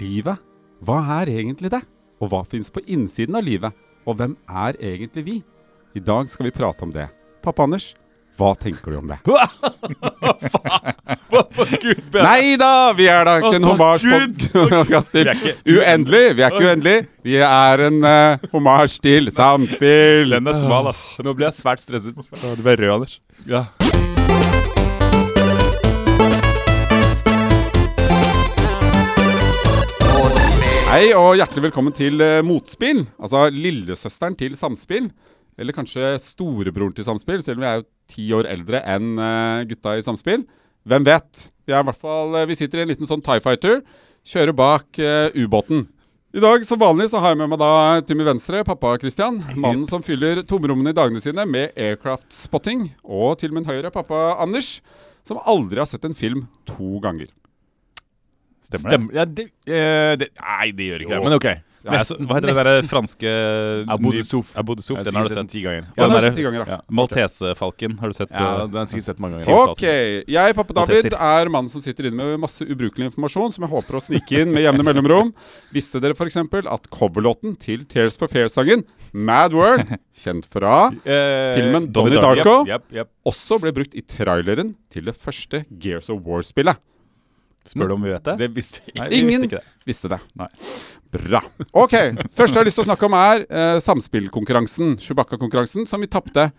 Livet, hva er egentlig det? Og hva fins på innsiden av livet? Og hvem er egentlig vi? I dag skal vi prate om det. Pappa Anders, hva tenker du om det? Gud, Nei da, vi er da ikke en Å, takk hommage Gud! på podkaster. Vi er ikke- Uendelig. Vi er ikke uendelige. Vi er en eh, hommage til samspill. Den er smal, ass. Nå ble jeg svært stresset. Du ble rød, Anders. Ja. Hei og hjertelig velkommen til eh, Motspill. Altså lillesøsteren til Samspill. Eller kanskje storebroren til Samspill, selv om vi er jo ti år eldre enn eh, gutta i Samspill. Hvem vet? Vi, er i hvert fall, eh, vi sitter i en liten sånn Tie Fighter, kjører bak eh, ubåten. I dag som vanlig så har jeg med meg da til min venstre pappa Christian. Mannen som fyller tomrommene i dagene sine med aircraft spotting. Og til min høyre pappa Anders, som aldri har sett en film to ganger. Stemmer det? Stemmer. Ja, det, eh, det, nei, det gjør ikke det. Jo. Men OK. Nei, altså, hva heter det der franske Abodesouff. Abodesouf, Jeg den har har du sikkert sett sett. ti ganger. Ja, den har jeg der- sett ti ganger, ja. ja. Maltesefalken, har du sett? Ja, eh, den har jeg sikkert sett mange ganger. Ok, altså. Jeg, pappa David, Attester. er mannen som sitter inne med masse ubrukelig informasjon som jeg håper å snike inn med jevne mellomrom. Visste dere f.eks. at coverlåten til Tears for Fair-sangen Mad World, kjent fra, Eh, filmen Donnie Darko. Darko. Jep, jep, jep. også ble brukt i traileren til det første Gears of War-spillet? Spør du om vi vet det? Det visste jeg ikke. Nei, vi visste Ingen ikke det. visste det. Nei. Bra. Ok, Første jeg har lyst til å snakke om, er eh, samspillkonkurransen. Chewbacca-konkurransen, som vi tapte.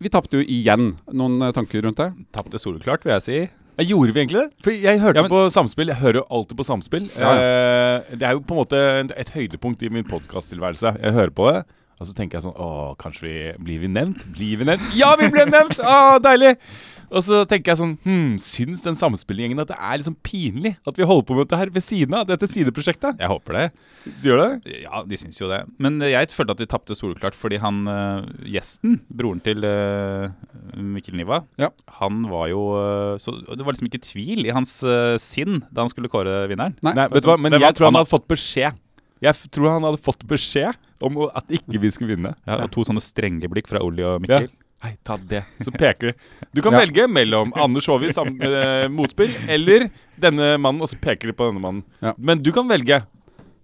Vi tapte jo igjen. Noen eh, tanker rundt det? Tapte soleklart, vil jeg si. Ja, Gjorde vi egentlig det? For jeg hørte Ja, men- på Samspill. Jeg hører jo alltid på Samspill. Ja, Eh, det er jo på en måte en- et høydepunkt i min podkasttilværelse. Jeg hører på det, og så tenker jeg sånn Å, kanskje vi Blir vi nevnt? Blir vi nevnt? Ja, vi ble nevnt! Å, deilig! Og så tenker jeg sånn Hm, syns den Samspillgjengen at det er liksom pinlig at vi holder på med dette her ved siden av dette sideprosjektet? Jeg håper det. Så gjør det? Ja, de syns jo det. Men eh, jeg følte at vi tapte soleklart fordi han eh, gjesten, broren til eh, Mikkel Niva, Ja. han var jo eh, Så det var liksom ikke tvil i hans eh, sinn da han skulle kåre vinneren. Nei, Nei, vet du hva, men Hvem jeg vant? tror han Han- hadde fått beskjed. Jeg f- tror han hadde fått beskjed om at ikke vi skulle vinne. Ja, og to sånne strenge blikk fra Olli Ja. og Mikkel. Nei, ta det. Så peker de. Du kan Ja. velge mellom Anders Håvi sam eh, motspill eller denne mannen, og så peker de på denne mannen. Ja. Men du kan velge.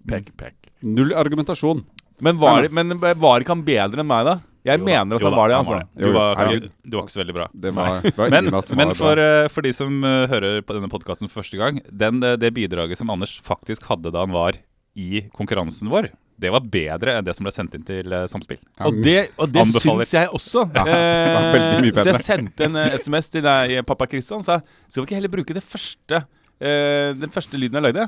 Pek, pek. Null argumentasjon. Men Ja, var, men var ikke han bedre enn meg, da? Jeg Jo da, mener at jo han da, var det, altså. Du, var, Jo, jo. du, du var ikke så veldig bra. Det var, det var Men, ingen av oss som men var bra. for, eh, for de som eh, hører på denne podkasten for første gang, den, eh, det bidraget som Anders faktisk hadde da han var i konkurransen vår, det var bedre enn det som ble sendt inn til eh, Samspill. Ja, Og det, og det Anbefaler. syns jeg også. Eh, var veldig mye så bedre. jeg sendte en eh, SMS til deg, pappa Kristian, sa skal vi ikke heller bruke det første, eh, den første lyden jeg lagde?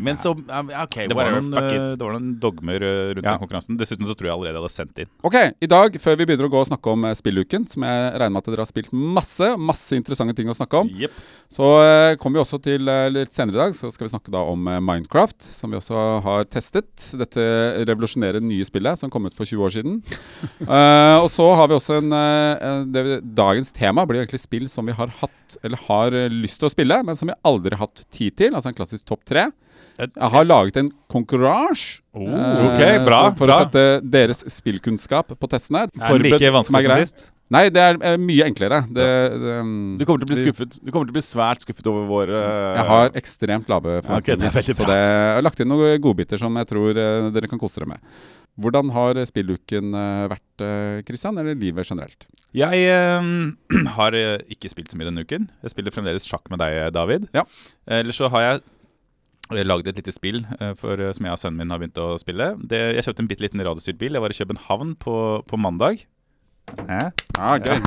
Men så ja, OK, Det var, whatever. noen, Fuck eh, it. det var noen dogmer eh, rundt Ja. den konkurransen. Dessuten så tror jeg allerede jeg hadde sendt inn. Ok, i dag, før vi begynner å gå og snakke om eh, spilluken, som jeg regner med at dere har spilt masse, masse interessante ting å snakke om, Jepp. så eh, kommer vi også til eh, litt senere i dag, så skal vi snakke da om eh, Minecraft, som vi også har testet. Dette revolusjonerer nye spillet som kom ut for 20 år siden. Eh, og så har vi også en, eh, en det, vi- Dagens tema blir jo egentlig spill som vi har hatt, eller har eh, lyst til å spille, men som vi aldri har hatt tid til, altså en klassisk topp tre. Et- Jeg har laget en konkurranse. Oh, ok, bra, så For bra. å sette deres spillkunnskap på testene. Er den Forberedt- som like er vanskelig som grei. sist? Nei, det er eh, mye enklere. Det, det, mm, Du kommer til å bli vi- skuffet. Du kommer til å bli svært skuffet over vår eh, Jeg har ekstremt lave Ja, ok, det er forventninger. veldig så det, jeg har lagt inn noen godbiter som jeg tror eh, dere kan kose dere med. Hvordan har spilluken eh, vært, eh, Christian, eller livet generelt? Jeg eh, har eh, ikke spilt så mye denne uken. Jeg spiller fremdeles sjakk med deg, eh, David. Ja. Eller så har jeg eh, lagd et lite spill eh, for, eh, som jeg og sønnen min har begynt å spille. Det, jeg kjøpte en bitte liten radiostyrt bil. Jeg var i København på, på mandag. Hæ? Ah, gøy.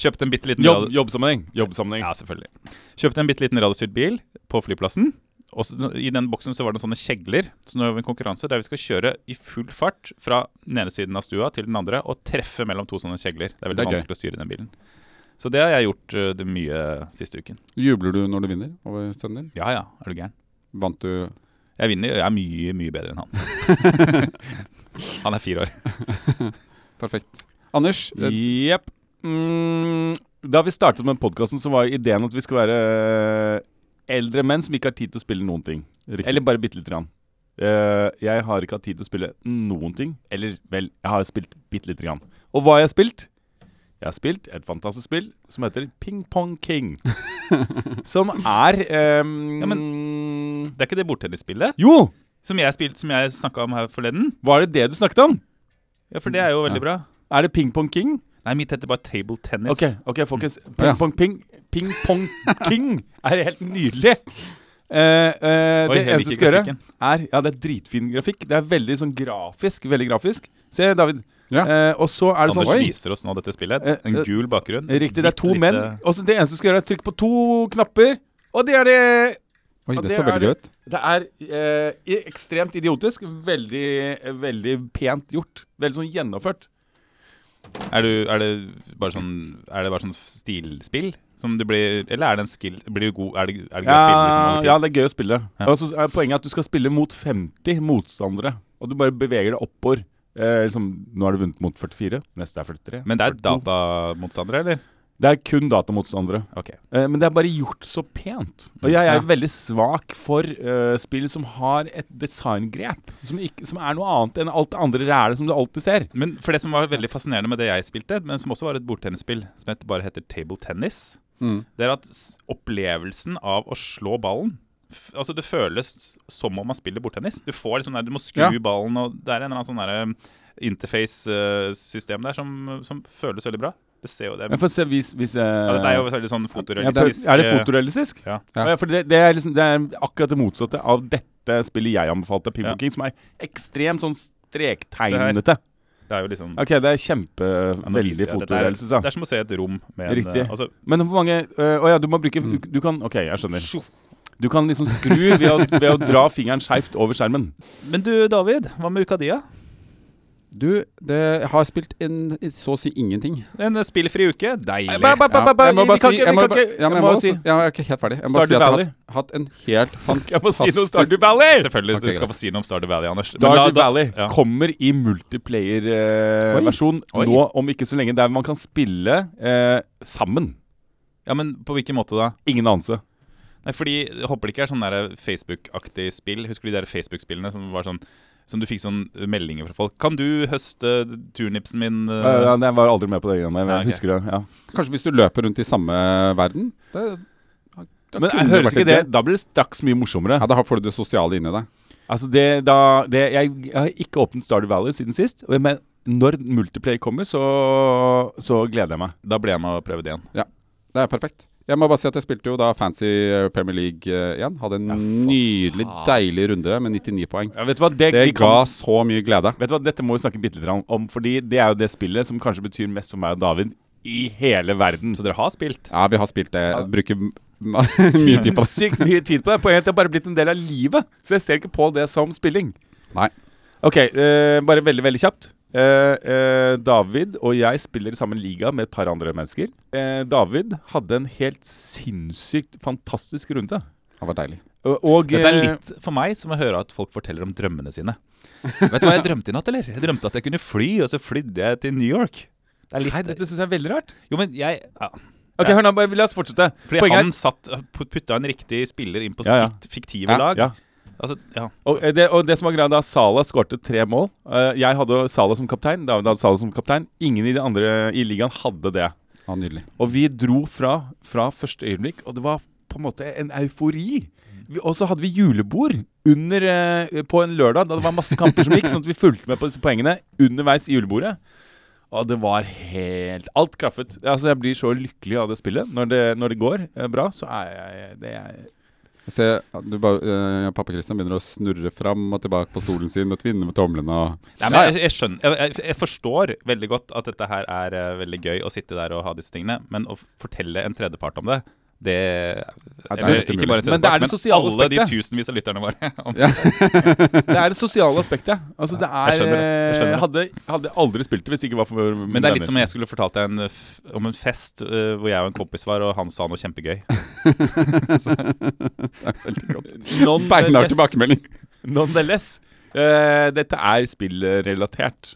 Kjøpte en bitte liten Jobb, radio- jobbsammenheng. jobbsammenheng. Ja, selvfølgelig. Kjøpte en bitte liten radiostyrt bil på flyplassen. Og så, I den boksen så var det sånne kjegler. Så nå har vi en konkurranse der vi skal kjøre i full fart fra den ene siden av stua til den andre og treffe mellom to sånne kjegler. Det er veldig Det er gøy. vanskelig å styre den bilen. Så det har jeg gjort eh, det mye siste uken. Jubler du når du vinner over sønnen din? Ja ja, er du gæren. Vant du Jeg vinner, jeg er mye, mye bedre enn han. han er fire år. perfekt? Anders, eh, Jepp. Mm, da vi startet med podkasten, så var ideen at vi skal være eh, eldre menn som ikke har tid til å spille noen ting. riktig. Eller bare bitte lite grann. Eh, jeg har ikke hatt tid til å spille noen ting. Eller vel, jeg har spilt bitte lite grann. Og hva har jeg spilt? Jeg har spilt et fantastisk spill som heter Ping Pong King. som er ehm, Ja, Det er ikke det bordtennisspillet Jo! som jeg, spilte- som jeg snakka om her forleden? Var det det du snakket om? Ja, for det er jo veldig bra. Er det Ping Pong King? Nei, mitt heter bare table tennis. Ok, ok, folkens. Mm. Ja. Ping Pong Ping Ping Pong King er helt nydelig. Eh, eh, Oi, det jeg eneste liker du skal gjøre, grafikken. er Ja, det er dritfin grafikk. Det er veldig sånn grafisk. Veldig grafisk. Se, David. Ja. Eh, og så er det Anders sånn Oi. viser oss nå dette spillet. Eh, En eh, gul bakgrunn. eh, Riktig, det er Hvitt, to lite- menn. Og så det eneste du skal gjøre, er trykke på to knapper. Og det er det Oi, Ja, det det så er veldig gøy ut. Det er eh, i- ekstremt idiotisk. Veldig, eh, veldig pent gjort. Veldig sånn gjennomført. Er, du, er, det bare sånn, er det bare sånn stilspill? Som du blir, eller er det en skill blir du god, Er det, er det gøy å spille liksom, Ja, over tid? ja, det er gøy å spille. Ja. Og så er poenget at du skal spille mot 50 motstandere. Og du bare beveger deg oppover. Eh, liksom, nå har du vunnet mot 44, neste er 43. Men det er 42. datamotstandere, eller? Det er kun datamotstandere. Ok. Eh, men det er bare gjort så pent. Og jeg er Ja. veldig svak for eh, spill som har et designgrep. Som, ikke, som er noe annet enn alt det andre rælet som du alltid ser. Men for det som var veldig fascinerende med det jeg spilte, men som også var et bordtennisspill som het, bare heter table tennis, Mm. det er at s- opplevelsen av å slå ballen f- Altså Det føles som om man spiller bordtennis. Du får liksom der, du må skru Ja. ballen, og det er en eller annen sånn der, um, interface-system eh, der som, som føles veldig bra. Det ser jo det. Jeg får se hvis, hvis eh, Ja, dette er jo veldig sånn fotorealistisk. Ja, er det fotorealistisk? Ja. Ja. Ja, for det, det, er liksom, det er akkurat det motsatte av dette spillet jeg anbefalte, Pimple Ja. King, som er ekstremt sånn strektegnete. Det er jo liksom Ok, det er kjempe... Ja, nå viser veldig jeg at dette er- fotorealistisk, Det da. er som å se et rom med Riktig. en uh, altså, Men hvor mange øh, Å ja, du må bruke du, du kan OK, jeg skjønner. Du kan liksom skru ved å, ved å dra fingeren skeivt over skjermen. Men du, David, hva med uka di, da? Du, det jeg har spilt en, så å si ingenting. En eh, spillfri uke? Deilig. Ba, ba, ba, ba, ba, jeg må vi bare kan si Jeg ikke- vi må kan bare- ja, ikke- men jeg jeg må må si- si- ja, jeg er ikke helt ferdig. Jeg må bare Stardew si at jeg har Valley. hatt, hatt en helt Jeg må si noe om Stardew fantastisk Valley! Selvfølgelig. Ok, du skal få si noe om Stardew Valley, Anders. Men la- Stardew da- Valley ja. kommer i Oi. multiplayer-versjon Oi. nå om ikke så lenge. Der man kan spille eh, sammen. Ja, men på hvilken måte da? Ingen anelse. Nei, fordi jeg Håper det ikke er sånn der Facebook-aktig spill. Husker du de der Facebook-spillene som var sånn som du fikk sånn meldinger fra folk 'Kan du høste turnipsen min?' eh, Ja, ja, jeg var aldri med på det greiene der. men Ja, Jeg ok. husker det, ja. Kanskje hvis du løper rundt i samme verden? Det, da Men kunne jeg høres vært ikke litt det gøy. Da blir det straks mye morsommere. Ja, Da får du det sosiale inni deg. Altså det, da, det, jeg, jeg har ikke åpnet Stardew Valley siden sist. og- Men når multiplayer kommer, så, så gleder jeg meg. Da ble jeg med og prøvde igjen. Det er perfekt. Jeg må bare si at jeg spilte jo da Fancy eh, Premier League eh, igjen. Hadde en Ja, for nydelig, faen. deilig runde med 99 poeng. Ja, vet du hva? Det, Det vi ga kan, så mye glede. vet du hva? Dette må vi snakke bitte litt om, fordi det er jo det spillet som kanskje betyr mest for meg og David i hele verden. Så dere har spilt? Ja, vi har spilt det. Jeg Bruker m- mye tid på det. Sykt mye tid på det. Poenget er at det har bare blitt en del av livet. Så jeg ser ikke på det som spilling. Nei. Ok, eh, bare veldig, veldig kjapt. Eh, eh, David og jeg spiller i samme liga med et par andre mennesker. Eh, David hadde en helt sinnssykt fantastisk runde. Det var deilig. Og, og Dette er eh, litt for meg som å høre at folk forteller om drømmene sine. Vet du hva jeg drømte i natt, eller? Jeg drømte at jeg kunne fly, og så flydde jeg til New York. Det er Nei, litt dette syns jeg er veldig rart. Jo, men jeg ja. Ok, Ja. hør nå, bare La oss fortsette. Fordi Poenget er- han satt, put- putta en riktig spiller inn på Ja, ja. sitt fiktive Ja, lag. Ja. Altså, ja. Og, eh, det, og det som var greia da, Sala skårte tre mål. Eh, jeg hadde Sala som kaptein. David hadde Sala som kaptein. Ingen i de andre i ligaen hadde det. Ja, nydelig. Og vi dro fra, fra første øyeblikk, og det var på en måte en eufori. Vi- Og så hadde vi julebord under, eh, på en lørdag, da det var masse kamper som gikk, sånn at vi fulgte med på disse poengene underveis i julebordet. Og det var helt Alt klaffet. Altså, jeg blir så lykkelig av det spillet. Når det, når det går eh, bra, så er jeg det er, Jeg ser, du bare, eh, pappa Christian begynner å snurre fram og tilbake på stolen sin og tvinne med tomlene. Og, Nei, men jeg, jeg skjønner jeg, jeg, jeg forstår veldig godt at dette her er eh, veldig gøy å sitte der og ha disse tingene, men å fortelle en tredjepart om det det det, er eller, helt umulig. Ikke bare Men det er det tredjepart, men, sosiale alle aspektet. de tusenvis av lytterne våre. Om, det er det sosiale aspektet. Altså, det er jeg skjønner det, jeg skjønner det. Hadde, hadde aldri spilt det hvis det ikke var for Men det er litt som om jeg skulle fortalt deg en, eh, f- om en fest eh, hvor jeg og en kompis var, og han sa noe kjempegøy. Beinhard tilbakemelding. Nonetheless, eh, dette er spillrelatert.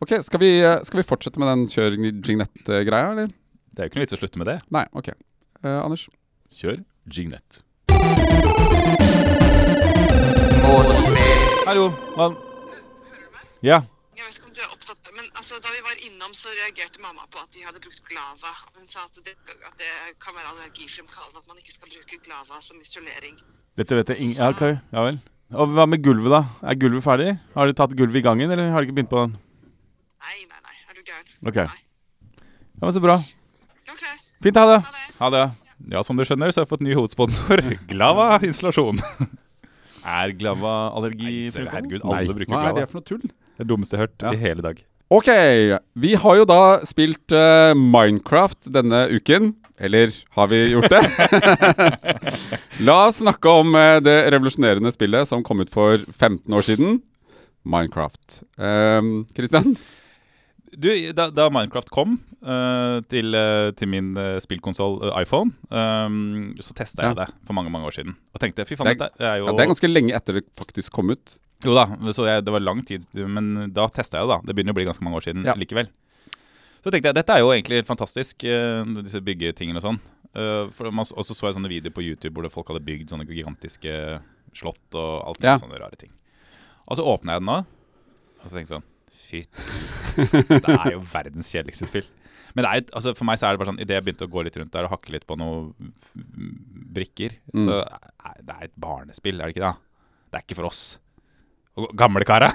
Ok, skal vi, eh, skal vi fortsette med den kjør jignett-greia, eller? Det er jo ikke noe vits å slutte med det. Nei, ok. Eh, Anders? Kjør Jignett. Morgenspill. Hallo, mann. Ja. Jeg vet ikke om du er opptatt men altså, da vi var innom, så reagerte mamma på at de hadde brukt glava. Hun sa at det, at det kan være allergifremkallende at man ikke skal bruke glava som isolering. Dette vet jeg ing... Ja, ok. ja vel. Og hva med gulvet, da? Er gulvet ferdig? Har de tatt gulvet i gangen, eller har de ikke begynt på den? Nei, nei, nei. Er du gæren? Ok. Nei. Ja, men Så bra. OK. Fint, ha det. Ha det. Ha det. Ja, som du skjønner, så har jeg fått ny hovedsponsor. Glava installasjon. Er Glava allergifremkallende? Herregud, alle bruker hva er Glava. det for noe tull? Det dummeste jeg har hørt i hele dag. Ok, vi har jo da spilt eh, Minecraft denne uken. Eller har vi gjort det? La oss snakke om eh, det revolusjonerende spillet som kom ut for 15 år siden. Minecraft. Um, Christian? Du, da, da Minecraft kom eh, til, eh, til min uh, spillkonsoll iPhone, eh, så testa jeg Ja. det for mange mange år siden. Og tenkte fy Det faen, er- dette er jo Ja, det er ganske lenge etter det faktisk kom ut. Jo da, så jeg, det var lang tid, men da testa jeg det, da. Det begynner å bli ganske mange år siden Ja. likevel. Så tenkte jeg dette er jo egentlig fantastisk, eh, disse byggetingene og sånn. Eh, for man- og så så jeg sånne videoer på YouTube hvor det folk hadde bygd sånne gigantiske slott og alt mulig Ja. sånne rare ting. Og så åpna jeg den nå, og så tenkte jeg sånn Fy, det er jo verdens kjedeligste spill. Men det er, jo- altså for meg så er det bare sånn idet jeg begynte å gå litt rundt der og hakke litt på noen brikker, Mm. så er det er et barnespill, er det ikke det? Det er ikke for oss. Og Gamle karet.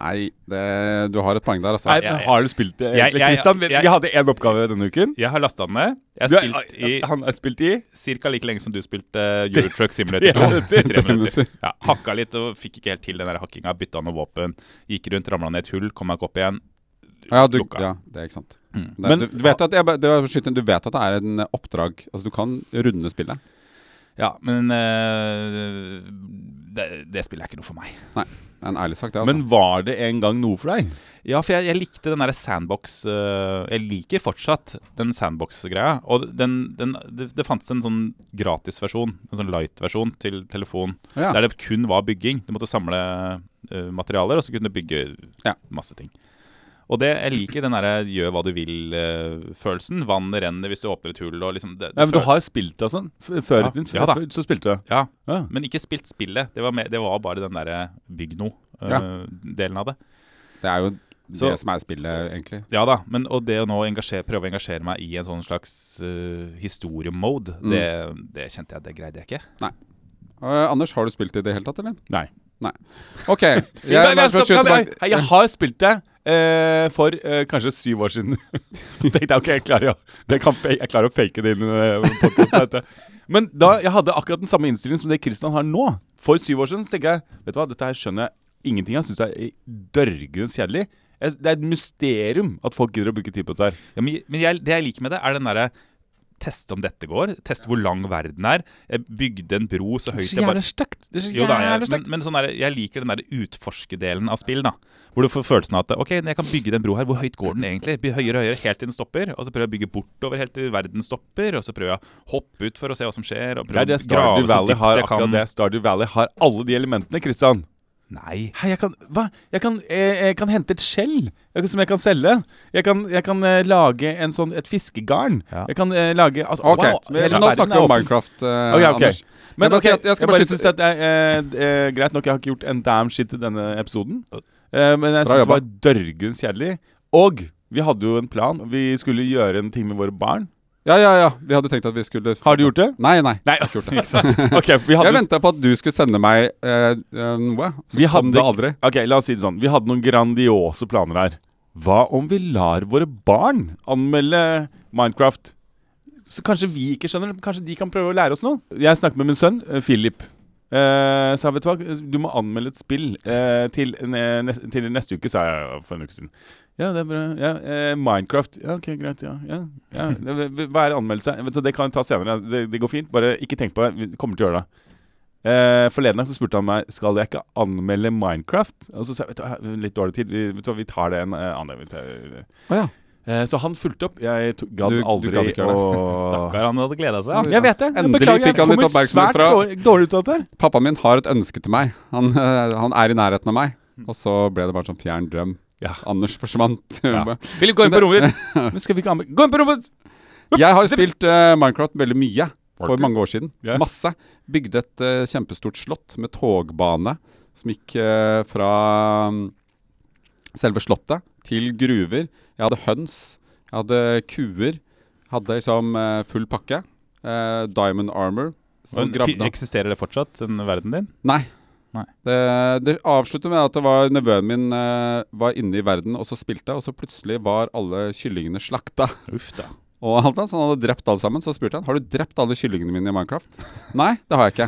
Nei, det, du har et poeng der, altså. Nei, men Har du spilt det, Jeg- egentlig, jeg- Kristian? jeg- Vi hadde én oppgave denne uken. Jeg har lasta den ned. Jeg Du har er, spilt i han har spilt i ca. like lenge som du spilte uh, Euro Truck Simulator 2. Tre I tre minutter. minutter. Ja, hakka litt og fikk ikke helt til den der hakkinga. Bytta noe våpen. Gikk rundt, ramla ned et hull, kom meg ikke opp igjen. Ja, du, Lukka. ja det er ikke sant. Mm. Det, Men- du, du, vet at, jeg, bare- det var skyt inn, du vet at det er en oppdrag Altså, du kan runde spillet. Ja, men eh, det, det spillet er ikke noe for meg. Nei, det er en ærlig sak, det, altså. Men var det en gang noe for deg? Ja, for jeg, jeg likte den derre sandbox øh, Jeg liker fortsatt den sandbox-greia. Og den, den, det, det fantes en sånn gratisversjon, en sånn light-versjon til telefon, Ja. der det kun var bygging. Du måtte samle øh, materialer, og så kunne du bygge Ja. masse ting. Og det, jeg liker den derre gjør hva du vil-følelsen. Vannet renner hvis du åpner et hull og liksom det, det Nei, men Du føl- har spilt det og sånn? F- Før i Ja. tiden? f- Ja da. før- Så spilte du? Ja, Ja. men ikke spilt spillet. Det var, mer- det var bare den derre bygg Ja. noe-delen av det. Det er jo Så- det som er spillet, egentlig. Ja da, men og det å nå engasjere, prøve å engasjere meg i en sånn slags uh, historiemode, Mm. det, det kjente jeg, det greide jeg ikke. Eh, Anders, har du spilt i det hele tatt, eller? Nei. Nei. OK. Jeg, Nei, nei, vær så snill, stopp, kjør nei, tilbake. nei, jeg har spilt det eh, for eh, kanskje syv år siden. Da tenkte jeg ok, jeg klarer, å, det kan, fa- jeg klarer å fake det inn. eh, podcasten, vet du. Men da jeg hadde akkurat den samme innstillingen som det Kristian har nå, for syv år siden, så tenker jeg vet du hva, dette her skjønner jeg ingenting av. Syns jeg er dørgende kjedelig. Jeg, det er et mysterium at folk gidder å bruke tid på dette her. Ja, men men jeg, det jeg liker med det, er den derre Teste om dette går. Teste hvor lang verden er. Jeg bygde en bro så høyt jeg bare stygt. Det er jo da, jeg, men, men sånn der, jeg liker den der utforskedelen av spill. da Hvor du får følelsen av at Ok, jeg kan bygge den bro her. Hvor høyt går den egentlig? By- Høyere og høyere helt til den stopper. Og så prøver jeg å bygge bortover helt til verden stopper. Og så prøver jeg å hoppe ut for å se hva som skjer. Det Og er det prøver å grave Stardew så Valley dypt har. jeg kan. akkurat det Stardew Valley har alle de elementene, Kristian. Nei. Hei, jeg kan, hva? Jeg kan, eh, jeg kan hente et skjell jeg, som jeg kan selge. Jeg kan, jeg kan eh, lage en sånn, et fiskegarn. Ja. Jeg kan eh, lage altså, Ok, wow, men hele Nå snakker verden er vi om åpen. Minecraft, eh, Ok, ok. Anders. Men bare ok, si at- jeg jeg skal bare, bare synes skyte- at det er eh, eh, greit nok, jeg har ikke gjort en damn shit i denne episoden. Eh, men jeg Bra syns det var dørgens kjedelig. Og vi hadde jo en plan. Vi skulle gjøre en ting med våre barn. Ja, ja, ja. Vi hadde tenkt at vi skulle Har du gjort det? Nei, nei. Nei, ikke sant. Ok, vi hadde Jeg venta på at du skulle sende meg eh, eh, noe. Så Vi kom hadde- det aldri. Ok, la oss si det sånn. Vi hadde noen grandiose planer her. Hva om vi lar våre barn anmelde Minecraft? Så kanskje vi ikke skjønner det, men kanskje de kan prøve å lære oss noe? Jeg snakket med min sønn, eh, Philip. Eh, sa vet du hva, du må anmelde et spill eh, til, ne nes- til neste uke, sa jeg for en uke siden. Ja, det er bra. Ja, eh, Minecraft. Ja, ok, greit. Ja, ja, ja. Det- Hva er anmeldelse? Vet du, det kan vi ta senere. Det, det går fint. Bare ikke tenk på det. Vi kommer til å gjøre det. Eh, forleden dag så spurte han meg Skal jeg ikke anmelde Minecraft. Og så sa jeg vet du, hva, litt dårlig tid, vi, vet du, hva, vi tar det en eh, annen vi tar- Å ja. Eh, Så han fulgte opp. Jeg to, gadd Du- du aldri gadd ikke gjøre det. å Stakkar, han hadde gleda seg. Jeg vet det. Jeg Endelig beklager. fikk Jeg han litt kommer oppmerksomhet svært fra- dårlig, dårlig ut av dette. her Pappaen min har et ønske til meg. Han, eh, han er i nærheten av meg. Og så ble det bare en sånn fjern drøm. Ja. Anders forsvant. Ja. Philip, gå inn på rommet ditt! Men skal vi ikke anmelde Gå inn på rommet ditt! Jeg har jo spilt eh, Minecraft veldig mye for Orker. mange år siden. Ja. Masse. Bygde et eh, kjempestort slott med togbane som gikk eh, fra mm, selve slottet til gruver. Jeg hadde høns, jeg hadde kuer. Hadde liksom eh, full pakke. Eh, diamond armor. Som Men gravde fi- han. Eksisterer det fortsatt, den verden din? Nei. Nei. Det, det avslutter med at det var nevøen min eh, var inne i verden og så spilte, og så plutselig var alle kyllingene slakta. Uff da. Og alt da, Så han hadde drept alle sammen. Så spurte han har du drept alle kyllingene mine i Minecraft. Nei, det har jeg ikke.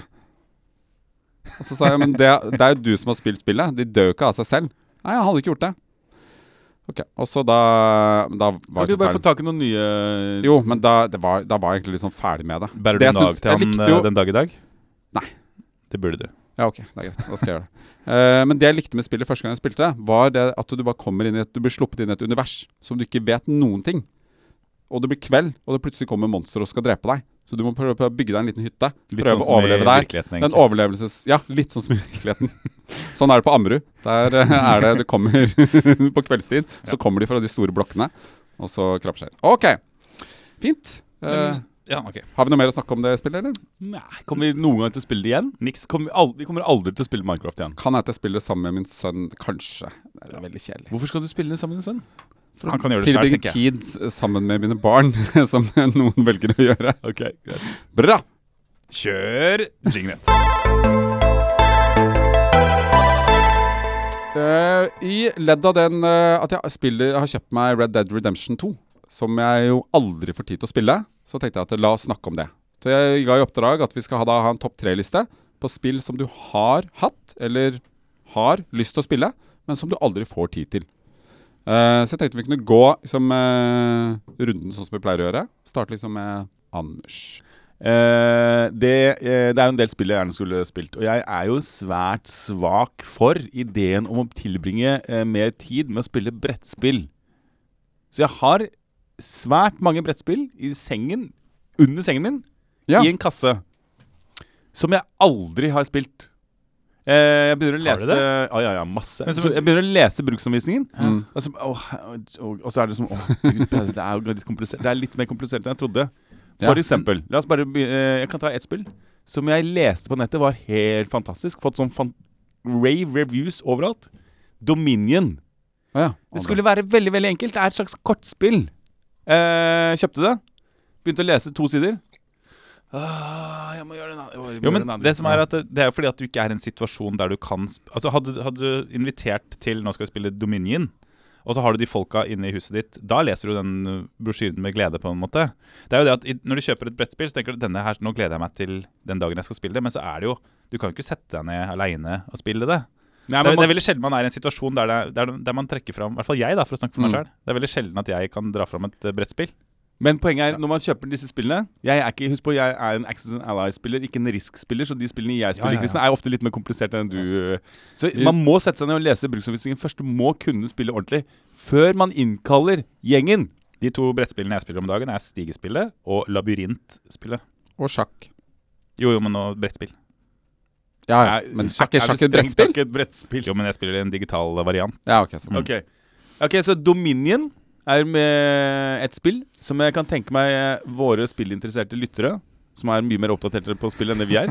Og så sa jeg men det, det er jo du som har spilt spillet. De dør jo ikke av seg selv. Nei, han hadde ikke gjort det. Ok, Og så da, da var Kan du jeg så bare ferdig. få tak i noen nye Jo, men da, det var, da var jeg egentlig litt sånn ferdig med det. Bærer Det du nag syns- til jeg han likte eh, jo- den dag i dag? Nei. Det burde du. Ja, ok, det er greit. Da skal jeg gjøre det. Eh, men det jeg likte med spillet første gang jeg spilte det, var det at du bare kommer inn i et, du blir sluppet inn i et univers som du ikke vet noen ting. Og det blir kveld, og det plutselig kommer monstre og skal drepe deg. Så du må prøve å bygge deg en liten hytte. Litt prøve sånn å som i overleve der. virkeligheten, Den egentlig. overlevelses... Ja, litt sånn som i virkeligheten. Sånn er det på Ammerud. Der eh, er det det kommer på kveldstid. Så kommer de fra de store blokkene, og så krabbeskjær. OK. Fint. Eh, Ja, ok. har vi noe mer å snakke om det spillet, eller? Nei, Kommer vi noen gang til å spille det igjen? Niks. Kommer vi, aldri, vi kommer aldri til å spille Minecraft igjen. Kan jeg til å spille sammen med min sønn, kanskje. Det er veldig kjedelig. Hvorfor skal du spille det sammen med din sønn? Han kan gjøre det selv, Tilbringe tenker jeg. tid s- sammen med mine barn, som noen velger å gjøre. Ok, greit. Bra! Kjør jinglet. Eh, I ledd av den eh, at jeg spiller, jeg har kjøpt meg Red Dead Redemption 2, som jeg jo aldri får tid til å spille, så tenkte jeg at la oss snakke om det. Så jeg ga i oppdrag at vi skal ha, da, ha en topp tre-liste på spill som du har hatt, eller har lyst til å spille, men som du aldri får tid til. Eh, så jeg tenkte vi kunne gå liksom, eh, runden sånn som vi pleier å gjøre. Starte liksom med Anders. Eh, det, eh, det er jo en del spill jeg gjerne skulle spilt. Og jeg er jo svært svak for ideen om å tilbringe eh, mer tid med å spille brettspill. Så jeg har svært mange brettspill i sengen, under sengen min, Ja. i en kasse. Som jeg aldri har spilt. Eh, jeg begynner å Har du lese Ja, ja, ja, masse. Men så- så jeg begynner å lese bruksanvisningen. Mm. Og så, åh, og, og så er det som åh, Gud, det er jo litt komplisert Det er litt mer komplisert enn jeg trodde. For Ja. eksempel, la oss bare be- eh, Jeg kan ta ett spill som jeg leste på nettet, var helt fantastisk. Fått sånn fan rave reviews overalt. Dominion. Å ja. Det skulle være veldig veldig enkelt. Det er et slags kortspill. Eh, kjøpte det. Begynte å lese to sider. Ah, jeg må gjøre en annen- jeg må Jo, gjøre men en annen- det som er at det, det er jo fordi at du ikke er i en situasjon der du kan sp Altså Hadde, hadde du invitert til Nå skal vi spille Dominion, og så har du de folka inne i huset ditt, da leser du den uh, brosjyren med glede, på en måte. Det er jo det at i, Når du kjøper et brettspill, så tenker du denne her, nå gleder jeg meg til den dagen jeg skal spille det, men så er det jo Du kan jo ikke sette deg ned aleine og spille det. Nei, men det, er, det er man, veldig sjelden man er i en situasjon der, det, er- der, der man trekker fram I hvert fall jeg, da, for å snakke for meg Mm. selv Det er veldig sjelden at jeg kan dra fram et uh, brettspill. men poenget er, når man kjøper disse spillene Jeg er ikke, Husk på, jeg er en Access and Ally-spiller, ikke en Risk-spiller, så de spillene jeg spiller, ja, ja. Christian, er ofte litt mer kompliserte enn du eh. Så man må sette seg ned og lese bruksanvisningen først. Du må kunne spille ordentlig før man innkaller gjengen. De to brettspillene jeg spiller om dagen, er Stigespillet og Labyrintspillet. Og sjakk. Jo, jo, men nå brettspill. Ja, ja. Men sjakk- er ikke sjakk det et strengt brettspill? tatt et brettspill? Jo, men jeg spiller en digital variant. Ja, ok. sånn. Så. Ok, Ok, så Dominion er med et spill som jeg kan tenke meg eh, våre spillinteresserte lyttere, som er mye mer oppdaterte på spill enn det vi er,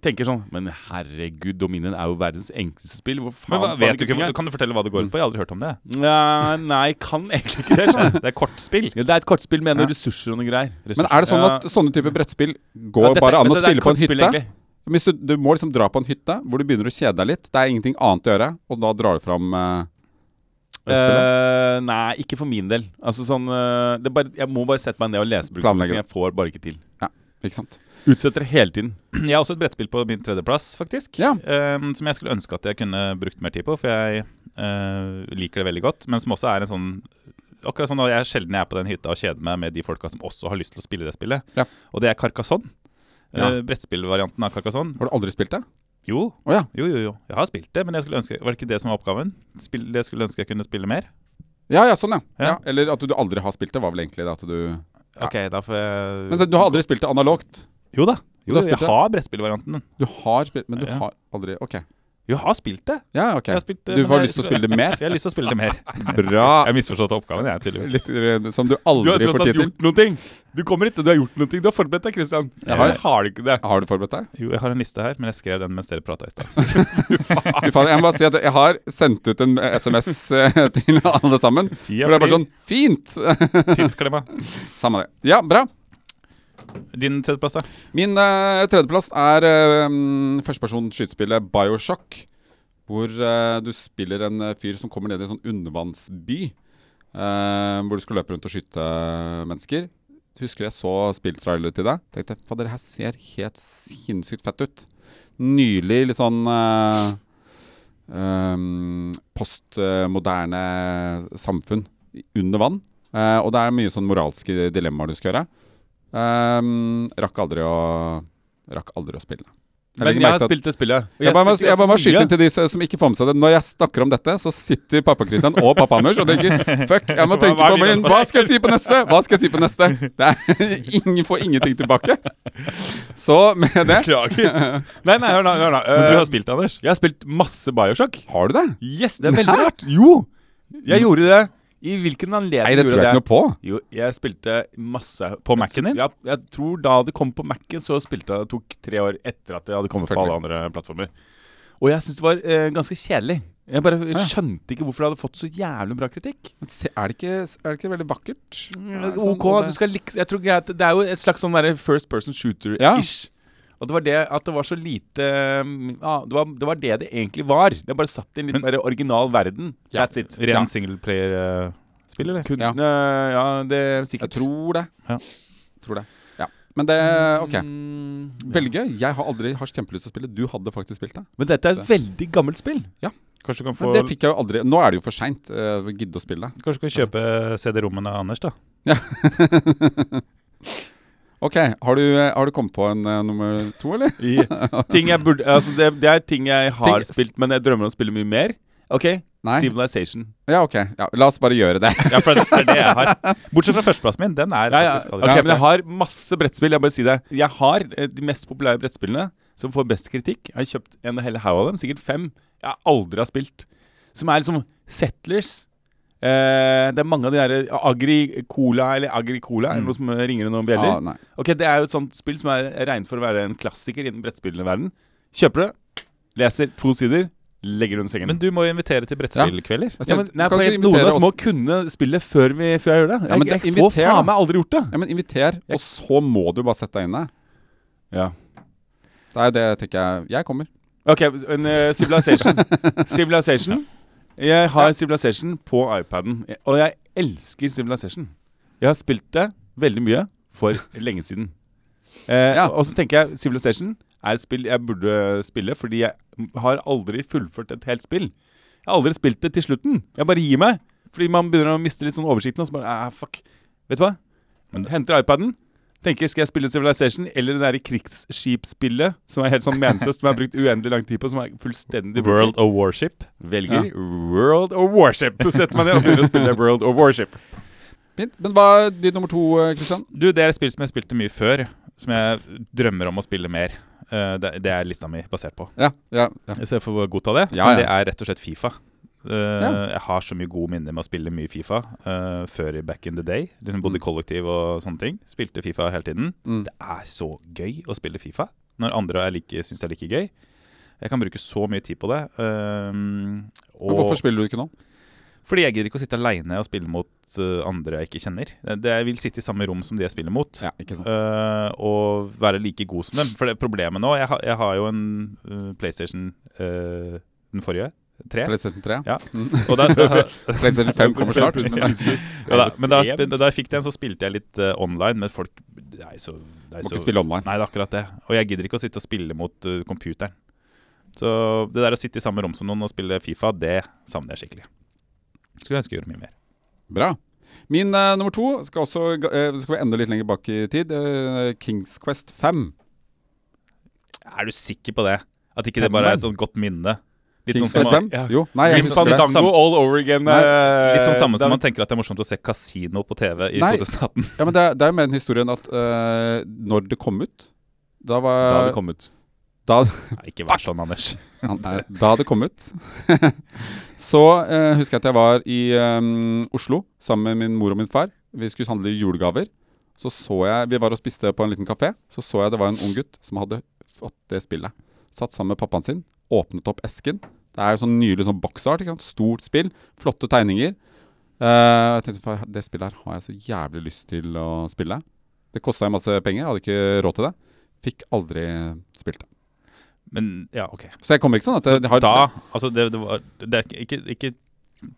tenker sånn Men herregud, Dominion er jo verdens enkleste spill. Hvor faen Men hva, får han vet du ikke ikke, fingeren? Kan du fortelle hva det går ut på? Jeg har aldri hørt om det. Nja, Nei, kan egentlig ikke det. Sånn. Det er kortspill. Ja, det er et kortspill med Ja. noen ressurser og noen greier. Men er det sånn at Ja. sånne typer brettspill Ja, går dette- bare an å dette er spille på en kortspill, hytte? egentlig. Hvis du, du må liksom dra på en hytte hvor du begynner å kjede deg litt. Det er ingenting annet å gjøre, og da drar du fram eh, Eh, nei, ikke for min del. Altså sånn eh, det er bare, Jeg må bare sette meg ned og lese Planlegge bruksanvisningen. Jeg får bare ikke til. Ja, ikke sant. Utsetter det hele tiden. Jeg har også et brettspill på min tredjeplass, faktisk. Ja. Ehm, som jeg skulle ønske at jeg kunne brukt mer tid på, for jeg eh, liker det veldig godt. Men som også er en sånn Akkurat sånn at jeg sjelden er på den hytta og kjeder meg med de folka som også har lyst til å spille det spillet. Ja. Og det er Carcassonne. Ja. Eh, brettspillvarianten av Carcassonne. Har du aldri spilt det? Jo, Å ja. jo, jo, jo. Jeg har spilt det, men jeg skulle ønske, var det ikke det som var oppgaven? Spill, jeg skulle ønske jeg kunne spille mer. Ja, ja, sånn ja. ja. Ja. Eller at du, du aldri har spilt det, var vel egentlig det at du Ja. Ok, da får jeg Men det, du har aldri spilt det analogt? Jo da. Du Jo, har jo, jeg spilt det? har brettspillvarianten. Du har spilt, men du Ja. har aldri Ok. Jo, jeg har spilt det. Ja, ok. Jeg har spilt, eh, Du men har jeg lyst til å skulle- spille det mer? Jeg har lyst til å spille det mer. Bra. Jeg har misforstått oppgaven, jeg, tydeligvis. Litt eh, som du Du har aldri tross får alt tid til. gjort noen ting. Du kommer hit, og du har gjort noen ting. Du har forberedt deg, Christian. Jeg har- Eller har du ikke det? Har du forberedt deg? Jo, jeg har en liste her, men jeg skrev den mens dere prata i stad. Fy faen, jeg må bare si at jeg har sendt ut en eh, SMS eh, til alle sammen. Hvor Tida det er bare flyr. sånn Fint! Tidsklemma. Samme det. Ja, bra. Din tredjeplass, da? Min eh, tredjeplass er eh, mm, førsteperson skytespillet Bioshock. Hvor eh, du spiller en eh, fyr som kommer ned i en sånn undervannsby. eh, hvor du skal løpe rundt og skyte eh, mennesker. Husker jeg så spilltrailer til deg. Tenkte at det her ser helt sinnssykt fett ut. Nylig litt sånn eh, um, postmoderne samfunn under vann. Eh, og det er mye sånn moralske dilemmaer du skal gjøre. Ehm, rakk aldri å Rakk aldri å spille. Men legger jeg merke har til at- spilt det spillet. og Jeg bare må, spilte jeg bare må ganske skyte mye. inn til de som som ikke får med seg det. Når jeg snakker om dette, så sitter pappa Christian og pappa Anders og tenker Fuck, jeg må Hva- tenke hva er på vi min Hva skal jeg si på neste? Hva skal jeg si på neste? Det er, ingen får ingenting tilbake. Så med det Beklager. Nei, nei, hør nå. Hør nå. Men du har Eh, spilt, Anders? jeg har spilt masse Bioshock. Har du det? Yes, det er veldig rart. Jo! Jeg gjorde det. I hvilken anledning Nei, det tror gjorde jeg ikke noe på. Jo, jeg spilte masse På Mac-en din? Ja, jeg tror da det kom på Mac-en, så spilte jeg det tok tre år etter at det hadde kommet på alle andre plattformer. Og jeg syntes det var eh, ganske kjedelig. Jeg bare skjønte ikke hvorfor det hadde fått så jævlig bra kritikk. Men se, er, det ikke, er det ikke veldig vakkert? Er det sånn, Ok, og du det- skal liksom Jeg tror ikke jeg- Det er jo et slags sånn derre first person shooter-ish. Og det var det at det var så lite mm, ja, det, var, det var det det egentlig var. Det bare satt i en litt Men- mer original verden. That's it. Ren singleplayer-spill, eller? Kunne, Ja. ja. det er Jeg sikkert tror det. Ja. Tror det. Ja. Men det OK. Mm, Veldig gøy. Jeg har aldri har kjempelyst til å spille. Du hadde faktisk spilt det. Men dette er et veldig gammelt spill. Kanskje du kan få Men det fikk jeg jo aldri. Nå er det jo for seint. Uh, gidde å spille det. Kanskje du kan kjøpe CD-rommene av Anders, da. OK. Har du, eh, har du kommet på en eh, nummer to, eller? I, ting jeg burde Altså, det, det er ting jeg har Ting- spilt, men jeg drømmer om å spille mye mer. OK? Nei. Civilization. Ja, OK. Ja, la oss bare gjøre det. Ja, for det er det jeg har. Bortsett fra førsteplassen min. Den er Ja, ja. faktisk altså. Ok, aldri. men jeg har masse brettspill. Jeg bare si det. Jeg har eh, de mest populære brettspillene som får best kritikk. Jeg har kjøpt en hel haug av dem, sikkert fem, jeg aldri har spilt. Som er liksom Settlers. Eh, det er mange av de derre Agri-Cola eller Agri-Cola, er det noe som eh, ringer noen bjeller? Mm. Ah, nei. Ok, Det er jo et sånt spill som er regnet for å være en klassiker innen brettspillende verden. Kjøper det, leser to sider, legger det under sengen. Men du må jo invitere til brettspillkvelder. Jeg ja, men, tenkte, nei, kan på, du helt- ikke noen invitere av oss oss- må kunne spille før, vi, før jeg gjør det. Jeg, Ja, men det- jeg får inviter, da. faen meg aldri gjort det. Ja, men inviter, og så må du bare sette deg inne. Ja. Det er det tenker jeg Jeg kommer. Ok, en, eh, Civilization. Civilization. Jeg har Civilization på iPaden, og jeg elsker Civilization. Jeg har spilt det veldig mye for lenge siden. Eh, Ja. Og så tenker jeg Civilization er et spill jeg burde spille, fordi jeg har aldri fullført et helt spill. Jeg har aldri spilt det til slutten. Jeg bare gir meg. Fordi man begynner å miste litt sånn oversikten, og så bare eh, fuck. Vet du hva? Henter iPaden. Tenker skal jeg spille Civilization eller det der krigsskipspillet som er helt sånn meningsløst, som jeg har brukt uendelig lang tid på, som er fullstendig brutalt. World of Warship. Velger World of Warship. Så setter man ned og begynner å spille World of Warship. Fint. Men hva er ditt nummer to, eh, Christian? Du, det er et spill som jeg spilte mye før, som jeg drømmer om å spille mer. Eh, det, det er lista mi basert på. Ja, ja, ja. Så jeg får godta det. Ja, ja. Men det er rett og slett Fifa. Eh, Ja. Jeg har så mye gode minner med å spille mye Fifa eh, før i back in the day. Liksom bodde i kollektiv og sånne ting. Spilte Fifa hele tiden. Mm. Det er så gøy å spille Fifa når andre er like, syns det er like gøy. Jeg kan bruke så mye tid på det. eh, og Men hvorfor spiller du ikke nå? fordi jeg gidder ikke å sitte aleine og spille mot eh, andre jeg ikke kjenner. Det, det, jeg vil sitte i samme rom som de jeg spiller mot, Ja, ikke sant. eh, og være like god som dem. For det er problemet nå Jeg, har- jeg har jo en eh, PlayStation eh, den forrige. Tre. PlayStation 3? Ja. Og da, da, PlayStation 5 kommer snart. Ja. ja da. Men da, jeg spil- da jeg fikk den, så spilte jeg litt eh, online, men folk Det er jo så, det er Må jo ikke så spille online. Nei, det er akkurat det. Og jeg gidder ikke å sitte og spille mot eh, computeren. Så det der å sitte i samme rom som noen og spille Fifa, det savner jeg skikkelig. Skulle ønske jeg gjorde mye mer. Bra. Min eh, nummer to skal også ga- eh, skal vi enda litt lenger bak i tid. eh, Kings Quest 5. Er du sikker på det? At ikke det bare er et sånt godt minne? Litt sånn Kings som, Quest 5? ja. Jo. Nei, jeg, Grim Grim husker Fandango det. Fandango all over again. eh, Nei, litt sånn samme som man tenker at det er morsomt å se kasino på TV i Nei. 2018. ja, men det, er- det er jo med den historien at eh, når det kom ut Da Da var hadde det kommet. Da, Nei, ikke vær sånn, Anders. han er- da det kom ut. Så eh, husker jeg at jeg var i eh, Oslo sammen med min mor og min far. Vi skulle handle julegaver. Så så jeg, Vi var og spiste på en liten kafé. Så så jeg det var en ung gutt som hadde fått det spillet. Satt sammen med pappaen sin, åpnet opp esken. Det er jo sånn nylig sånn boksart. ikke sant? Stort spill, flotte tegninger. Eh, jeg tenkte, "Fa- Det spillet her har jeg så jævlig lyst til å spille. Det kosta masse penger, jeg hadde ikke råd til det. Fikk aldri spilt det. Men ja, ok. Så jeg kommer ikke sånn at det, det har Da, altså det, det var det er ikke, ikke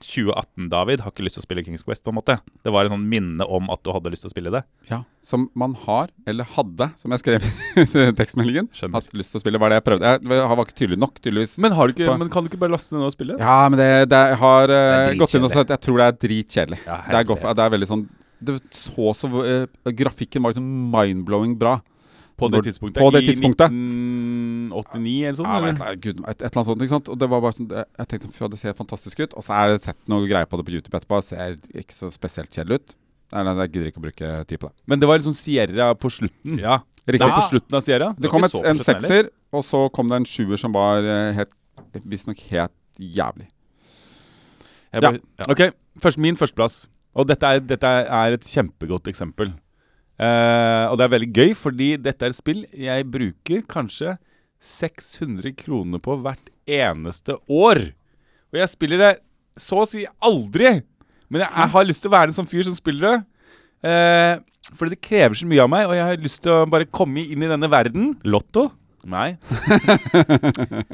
2018, David, har ikke lyst til å spille Kings Quest, på en måte. Det var et sånn minne om at du hadde lyst til å spille det. ja, Som man har, eller hadde, som jeg skrev i tekstmeldingen, Skjønner. hatt lyst til å spille. Hva er det jeg prøvde? Jeg var ikke tydelig nok, tydeligvis. Men, har du ikke, På- men kan du ikke bare laste ned og spille? Ja, men det, det har eh, Det er gått inn også at jeg tror det er dritkjedelig. Ja, det, er godt, det er veldig sånn det så så eh, Grafikken var liksom mind-blowing bra. På det Når- tidspunktet? på det tidspunktet. I 1989 eller sånn? Ja, men et, eller? eller annet- gud, et, et eller annet sånt, ikke sant? Og det var bare sånn, det- jeg tenkte sånn, fy, det ser fantastisk ut. Og så er det sett noe greier på det på YouTube etterpå. Det ser ikke så spesielt kjedelig ut. Nei, nei, jeg gidder ikke å bruke tid på det. Men det var liksom Sierra på slutten. Ja. Det Riktig. er på slutten av Sierra. Det kom var et, ikke så en profesjonell, sekser, og så kom det en sjuer som var eh, helt- visstnok helt jævlig. Jeg Ja. bare, ja. Ok, først, min førsteplass. Og dette er, dette er et kjempegodt eksempel. Eh, og det er veldig gøy, fordi dette er et spill jeg bruker kanskje 600 kroner på hvert eneste år. Og jeg spiller det så å si aldri. Men jeg, jeg har lyst til å være en sånn fyr som spiller det. Eh, fordi det krever så mye av meg, og jeg har lyst til å bare komme inn i denne verden. Lotto? Nei.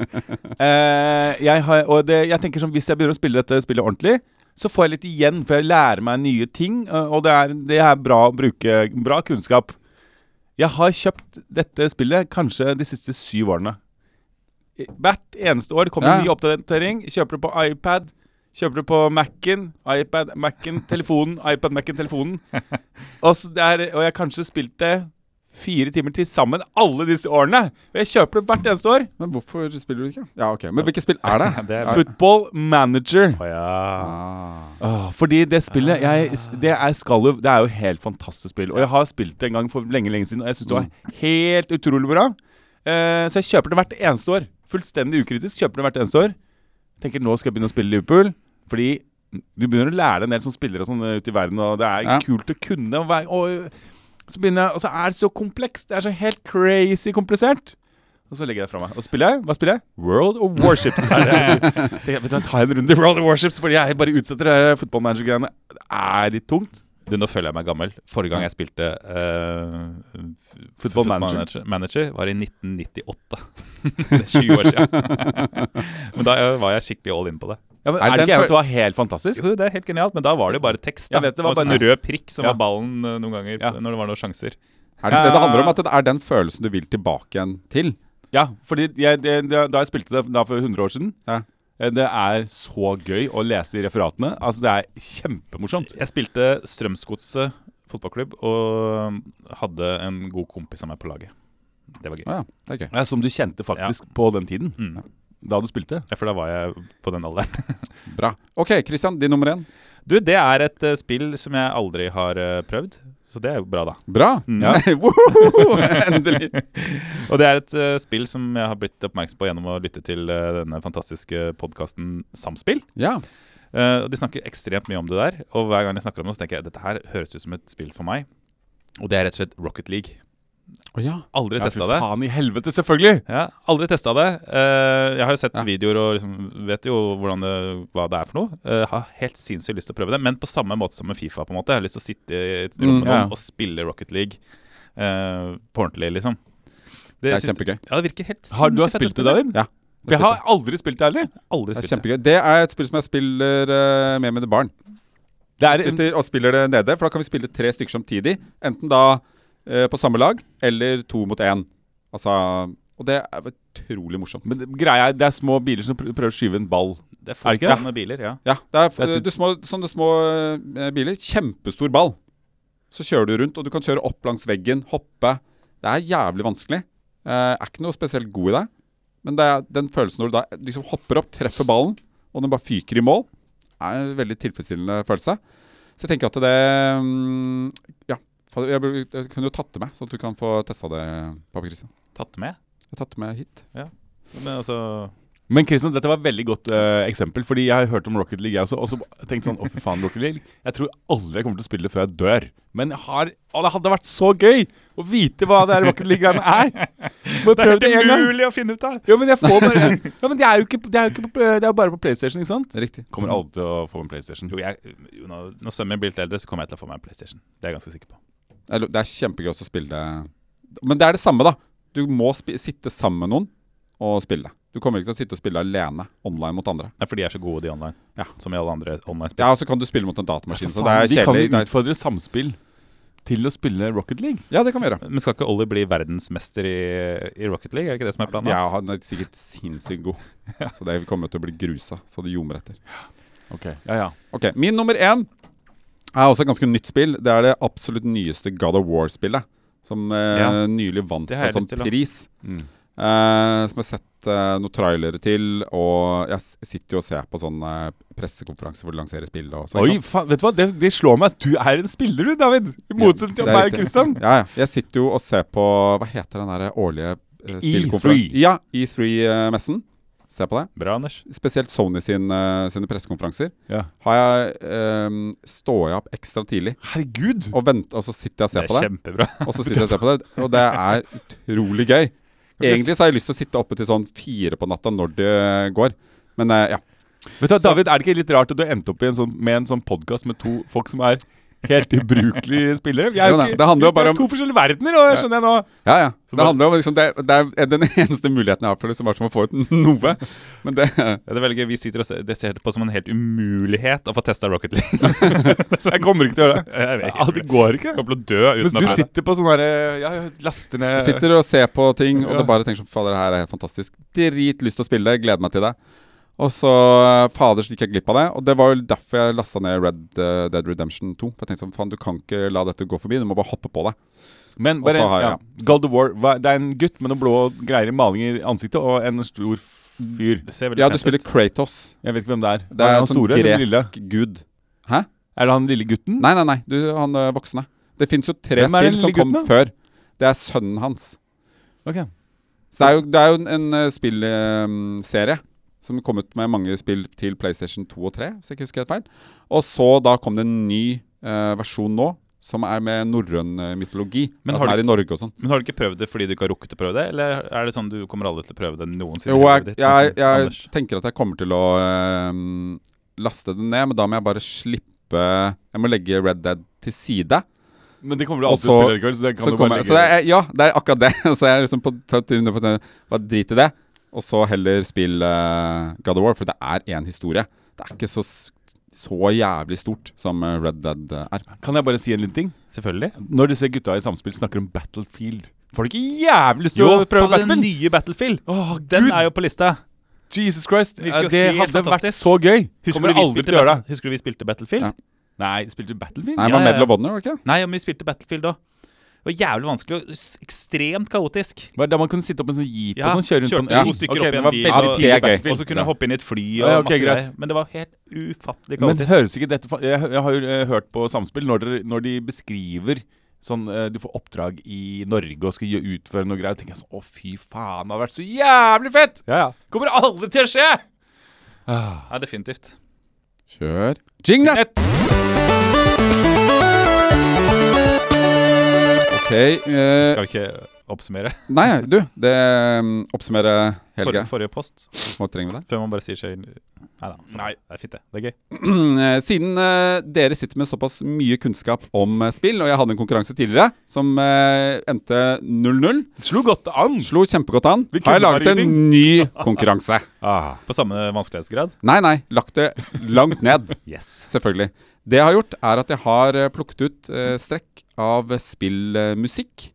Eh, jeg, har, og det, jeg tenker sånn, Hvis jeg begynner å spille dette spillet ordentlig, så får jeg litt igjen, for jeg lærer meg nye ting. eh, Og det er, det er bra å bruke bra kunnskap. Jeg har kjøpt dette spillet kanskje de siste syv årene. I- Hvert eneste år kommer Ja. en ny oppdatering. Kjøper det på iPad, kjøper det på Mac-en, iPad, Mac-en, telefonen, iPad, Mac-en, telefonen. Og, så det er, og jeg har kanskje spilt det fire timer til sammen alle disse årene. Og jeg kjøper det hvert eneste år. Men hvorfor spiller du ikke? Ja, ok. Men hvilket spill er det? Det er, Football Manager. Å, ja. Ah. Åh, fordi det spillet jeg, det, er skal jo, det er jo helt fantastisk spill. Og jeg har spilt det en gang for lenge lenge siden, og jeg syns det var helt utrolig bra. Eh, så jeg kjøper det hvert eneste år. Fullstendig ukritisk. kjøper det hvert eneste år Tenker nå skal jeg begynne å spille Liverpool. Fordi du begynner å lære en del som spillere og sånn eh, ute i verden, og det er Ja. kult å kunne. Og, være, og, så begynner jeg, og så er det så komplekst. Det er så helt crazy komplisert. Og så legger jeg det fra meg. Og så spiller jeg. Hva spiller jeg? World of Warships. Er det. Tenker jeg, vet du, hva, Ta en runde i World of Warships, fordi jeg bare utsetter det her fotballmanager-greiene. Det er litt tungt. Du, nå føler jeg meg gammel. Forrige gang jeg spilte eh, Football Football Manager. manager. manager var i 1998. det er 20 år siden. men da eh, var jeg skikkelig all in på det. Ja, men, Er er det den ikke jeg for- vet, det var helt fantastisk? Jo, det er helt genialt, men da var det jo bare tekst. Da. Jeg vet det var og sånn bare- rød prikk som Ja. var ballen eh, noen ganger Ja. når det var noen sjanser. Er det ikke det det handler om? At det er den følelsen du vil tilbake igjen til? Ja, fordi jeg, det, det, da jeg spilte det da for 100 år siden Ja. eh, Det er så gøy å lese de referatene. Altså, det er kjempemorsomt. Jeg spilte Strømsgodset fotballklubb og um, hadde en god kompis av meg på laget. Det var gøy. Å ja, det er gøy. Ja, Som du kjente faktisk på den tiden. Mm. Da du spilte. Ja, for da var jeg på den alderen. Bra. Ok, Christian, din nummer én. Du, det er et eh, spill som jeg aldri har eh, prøvd, så det er jo bra, da. Bra. Ja. Woho! Mm. Endelig. Og det er et eh, spill som jeg har blitt oppmerksom på gjennom å lytte til eh, denne fantastiske podkasten Samspill. Ja. Eh, og de snakker ekstremt mye om det der, og hver gang jeg snakker om det, så tenker jeg dette her høres ut som et spill for meg. Og det er rett og slett Rocket League. Å ja. Aldri Ja, fy testa det. faen i helvete, selvfølgelig! Ja, aldri testa det. Eh, jeg har jo sett Ja. videoer og liksom vet jo hvordan det, hva det er for noe. Eh, har helt sinnssykt lyst til å prøve det, men på samme måte som med Fifa. på en måte Jeg har lyst til å sitte i et rom Mm, med ja. noen og spille Rocket League eh, på ordentlig, liksom. Det er syns- kjempegøy. Ja, det virker helt Har du har sinnssykt fett å spilt det, spille. David? Ja. For jeg har aldri spilt det heller. Aldri Det er spilt det. kjempegøy. Det er et spill som jeg spiller eh, med mine barn. Det er en, Sitter og spiller det nede, for da kan vi spille tre stykker samtidig. Enten da eh, på samme lag, eller to mot én. Altså Og det er utrolig morsomt. men greia er, det er små biler som pr- prøver å skyve en ball. Det er Er det ikke det? fotball med biler, ja. Ja, det er That's eh, it. du små, sånne små eh, biler. Kjempestor ball. Så kjører du rundt, og du kan kjøre opp langs veggen, hoppe. Det er jævlig vanskelig. Eh, er ikke noe spesielt god i det, men det er den følelsen når du da liksom hopper opp, treffer ballen, og den bare fyker i mål, er en veldig tilfredsstillende følelse. Så jeg tenker at det mm, Ja. fader, Jeg, burde- jeg kunne jo tatt det med, så at du kan få testa det, pappa Christian. Tatt med. Jeg har tatt det med hit. Men altså Men Kristian, dette var et veldig godt eh, eksempel, fordi jeg har hørt om Rocket League, jeg også. Og så tenkte sånn, å fy faen, Rocket League. Jeg tror aldri jeg kommer til å spille det før jeg dør. Men jeg har, å, det hadde vært så gøy å vite hva det her Rocket League-greiene er. Må jeg prøve det en gang. å finne ut av! Ja, men jeg får bare Ja, men det er jo ikke, det er jo ikke på, det er jo bare på PlayStation, ikke sant? Riktig. Kommer aldri til å få en PlayStation. øh, Jo, jeg, jo, nå- når sønnen min blir litt eldre, så kommer jeg til å få meg en PlayStation. Det er jeg ganske sikker på. Det er, lo- det er kjempegøy også å spille Men det er det samme, da. Du må spi sitte sammen med noen og spille. Du kommer ikke til å sitte og spille alene online mot andre. Nei, for de er så gode, de online. Ja. Som i alle andre online-spill. Ja, og så kan du spille mot en datamaskin, så det Faen, er vi kan kjedelig. jo Det er- utfordre samspill til å spille Rocket League. Ja, det kan vi gjøre. Men skal ikke Ollie bli verdensmester i, i Rocket League? Er det ikke det som er planen? Ja, hans? han er sikkert sinnssykt god. Så det kommer til å bli grusa. Så det ljomer etter. Ok, ja, ja Ok, Min nummer én er også et ganske nytt spill. Det er det absolutt nyeste God of War-spillet. Som eh, Ja. nylig vant Det har jeg en sånn lyst til, da. pris. Mm. Eh, som jeg har sett eh, noen trailere til. Og jeg s- sitter jo og ser på sånn eh, pressekonferanse hvor de lanserer spill. Og så, Oi, ikke sant? faen, vet du hva? Det, det slår meg at du er en spiller, du, David. I motsetning til Det er meg og riktig. Kristian. Ja, ja. Jeg sitter jo og ser på Hva heter den der årlige E eh, E3. spillkonferansen? Ja, E3-messen. Ser på det. Bra, Anders. Spesielt Sony sin, eh, sine pressekonferanser. Ja. Har jeg eh, Står jeg opp ekstra tidlig Herregud. og venter, og så sitter jeg og Det ser er på det. kjempebra. Og så sitter jeg og ser på det, og det er utrolig gøy. Egentlig så har jeg lyst til å sitte oppe til sånn fire på natta når det går. Men eh, ja. Vet du hva, David, er det ikke litt rart at du har endt opp i en sånn, med en sånn podkast med to folk som er helt ubrukelige spillere? Vi er Jo da, ikke- det handler jo bare vi er om- to forskjellige verdener, og skjønner jeg nå. Ja, ja. Det bare- handler om liksom, det, det er den eneste muligheten jeg har for det, som er som å få ut noe. Men det Ja, Det er veldig gøy. Vi sitter og ser, det ser på som en helt umulighet å få testa Rocket League. Jeg kommer ikke til å gjøre det. Jeg vet ikke. Ja, det går ikke. Kommer til å dø uten Mens å du prøve. sitter på sånn herre Ja, laster ned jeg sitter og ser på ting, og Ja. det bare tenker sånn Fader, det her er helt fantastisk. Drit lyst til å spille. Gleder meg til det. Og så Fader, så gikk jeg glipp av det. Og det var jo derfor jeg lasta ned Red eh, Dead Redemption 2. For jeg tenkte sånn Faen, du kan ikke la dette gå forbi. Du må bare hoppe på det. Men Og bare, så har ja. jeg- God of War. hva- Det er en gutt med noen blå greier i maling i ansiktet og en stor fyr. Det ser veldig Ja, du pent spiller ut. Kratos. Jeg vet ikke hvem det er. Det er er han en sånn store eller lille? gresk gud. Hæ? Er det han lille gutten? Nei, nei, nei. Du, han ø, voksne. Det fins jo tre Hvem er den spill som lille kom gutten da? før. Det er sønnen hans. Ok. Så det er jo, det er jo en, eh, en spillserie som kom ut med mange spill til PlayStation 2 og 3, hvis jeg ikke husker helt feil. Og så da kom det en ny ø, versjon nå, som er med norrøn ø, mytologi. Men Men har har er i Norge og sånn. Men har du ikke prøvd det fordi du ikke har rukket å prøve det? Eller er det sånn du kommer aldri til å prøve det noensinne? Jo, i jeg, livet ditt, jeg, sånn som jeg Anders? tenker at jeg kommer til å ø, laste det ned, men da må jeg bare slippe Jeg må legge Red Dead til side. Men det kommer du Og alltid til å så- spille likevel, så det kan så du bare kommer, legge så det er, ja, det er akkurat det. Så jeg er liksom på, på, på, bare drit i det, og så heller spill eh, God of War, for det er én historie. Det er ikke så, s- så jævlig stort som eh, Red Dead eh, er. Kan jeg bare si en liten ting? Selvfølgelig. Når disse gutta i Samspill snakker om Battlefield Får du ikke jævlig lyst til Jo, å prøve faen, den Battlefield? nye Battlefield. Åh, Den Gud, er jo på lista. Jesus Christ, Virker jo eh, det helt hadde vært fantastisk. så gøy. Husker Kommer du, vi aldri spilte til å gjøre Battle- det. Husker du vi spilte Battlefield? Ja. Nei, spilte du Battlefield? Nei, Ja, det var ja, ja. Medal of Honor, var det ikke? Nei, men vi spilte Battlefield da. Det var jævlig vanskelig og s- ekstremt kaotisk. Var det da man kunne sitte opp en sånn jeep Ja, og sånn, kjøre rundt kjørte på en øy? to stykker Ok, opp i en det var bil, veldig og- tidlig Ja, det er gøy. Battlefield. Og så kunne jeg hoppe inn i et fly og Ja, ok, masse greit. greier. Men det var helt ufattelig Men kaotisk. høres ikke dette fa- Jeg, jeg har jo eh, hørt på Samspill når, dere, når de beskriver sånn eh, Du får oppdrag i Norge og skal gjø- utføre noe greier. tenker jeg sånn Å, fy faen, det har vært så jævlig fett! Ja, ja. Kommer aldri til å skje! Ah. ja, definitivt. Kjør jingle! Et. Ok. eh, Skal vi ikke oppsummere nei, du. Det mm, oppsummerer hele forrige, greia. forrige post? Nå trenger vi det. Før man bare sier seg Nei da. sånn. Nei. Det er fint, det. Det er gøy. Eh, Siden eh, dere sitter med såpass mye kunnskap om eh, spill, og jeg hadde en konkurranse tidligere som eh, endte 0-0, Slo godt an. slo kjempegodt an, har Vi jeg kunne bare laget en ingenting. ny konkurranse. Ah. På samme vanskelighetsgrad? Nei, nei. Lagt det langt ned, Yes. selvfølgelig. Det jeg har gjort, er at jeg har eh, plukket ut eh, strekk av spillmusikk.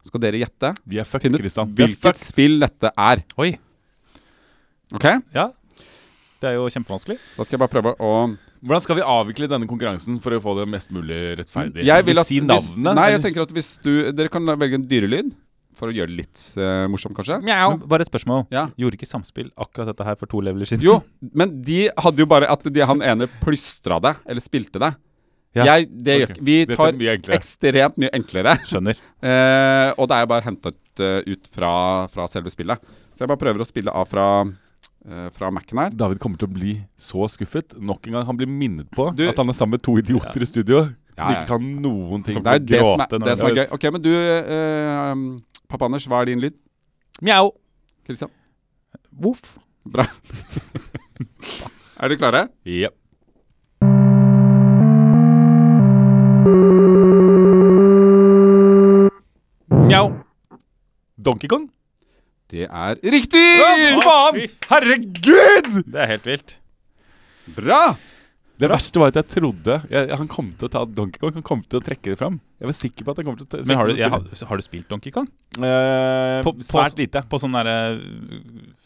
Så skal dere gjette Vi er fucked, finne ut Kristian. Vi er hvilket fucked. spill dette er. Oi. Ok? Ja. Det er jo kjempevanskelig. Da skal jeg bare prøve å Hvordan skal vi avvikle denne konkurransen for å få det mest mulig rettferdig? Jeg vil at si hvis, navnet? Nei, jeg eller? tenker at hvis du Dere kan velge en dyrelyd. For å gjøre det litt eh, morsomt, kanskje. Men bare et spørsmål. Ja. Gjorde ikke Samspill akkurat dette her for to leveler siden? Jo, men de hadde jo bare at de, han ene plystra det, eller spilte det. Ja. Jeg, det gjør Ok. ikke Vi Dette er tar mye enklere. ekstremt mye enklere. Skjønner. Eh, og det er bare hentet eh, ut fra, fra selve spillet. Så jeg bare prøver å spille av fra, uh, fra Mac-en her. David kommer til å bli så skuffet. Nok en gang han blir minnet på Du- at han er sammen med to idioter i studio som Ja, ja. ikke kan noen ting. Det er jo det som gråte er, når det det som er er gøy. Ok, Men du, eh, um, pappa Anders, hva er din lyd? Mjau. Christian? Voff. Bra. er dere klare? Yep. Donkey Kong? Det er riktig! Hva faen? Herregud! Det er helt vilt. Bra! Det verste var at jeg trodde jeg, Han kom til å ta Donkey Kong. Han kom til å trekke det fram. Jeg var sikker på at han kom til å ta- trekke Men har du, det jeg, fram. har, har du spilt Donkey Kong? Eh, På- på- Svært lite. På sånn derre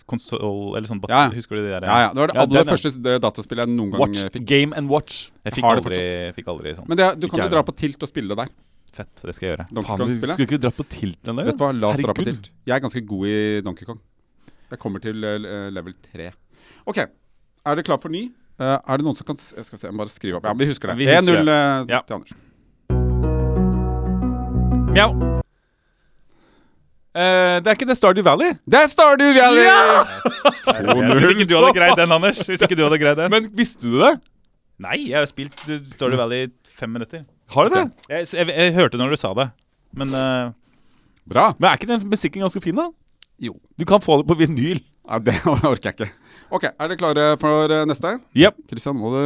konsoll Eller sånn bat- Ja, ja. Husker du de der? Ja, ja. Det var det Ja, aller den, ja. første eh, dataspillet jeg noen gang Watch. eh, fikk. Game and watch. Jeg fikk Har det aldri, fikk aldri sånn. Men det, du kan Ikke jo jeg dra heller. på tilt og spille der. Fett, det skal jeg gjøre. Donkey Faen, vi Kong-spillet. skulle ikke dratt på tilten der. Vet du hva, la oss dra på Herregud. tilt. Jeg er ganske god i Donkey Kong. Jeg kommer til eh, level 3. OK. Er dere klar for ny? Eh, er det noen som kan s- Jeg skal se, jeg må bare skrive opp. Ja, vi husker det. Vi husker 1-0 det. eh, Ja. til Anders. Mjau. Eh, det er ikke det Stardew Valley. Der står du, Valley! 2-0. Hvis ikke du hadde greid den, Anders. Hvis ikke du hadde greid den. Men visste du det? Nei, jeg har spilt eh, Stardew Valley i fem minutter. Har du det? Jeg, jeg, jeg hørte når du sa det, men eh, Bra. Men er ikke den musikken ganske fin, da? Jo. Du kan få det på vinyl. Nei, det orker jeg ikke. OK, er dere klare for eh, neste? Yep. Kristian, må du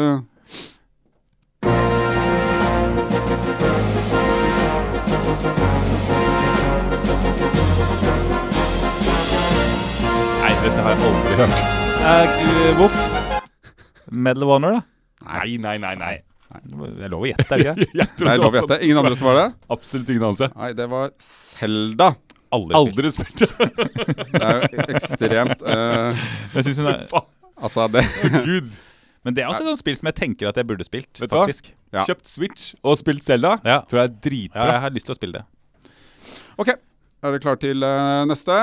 Nei, dette har jeg aldri hørt. Eh, Voff? Medal of Honor, da? Nei, nei, nei. nei. Det er lov å gjette, er det ikke? det? Jeg Det er lov å gjette. Ingen andre som var det? Absolutt ingen anelse. Nei, det var Selda. Aldri. Aldri spilt. Det er jo ekstremt eh, Jeg synes hun er, Faen, Altså, det Gud. men det er også et sånt spill som jeg tenker at jeg burde spilt, Vet du hva? faktisk. Ja. Kjøpt Switch og spilt Selda. Ja. Tror jeg er Ja, dritbra. jeg har lyst til å spille det. OK, er dere klare til eh, neste?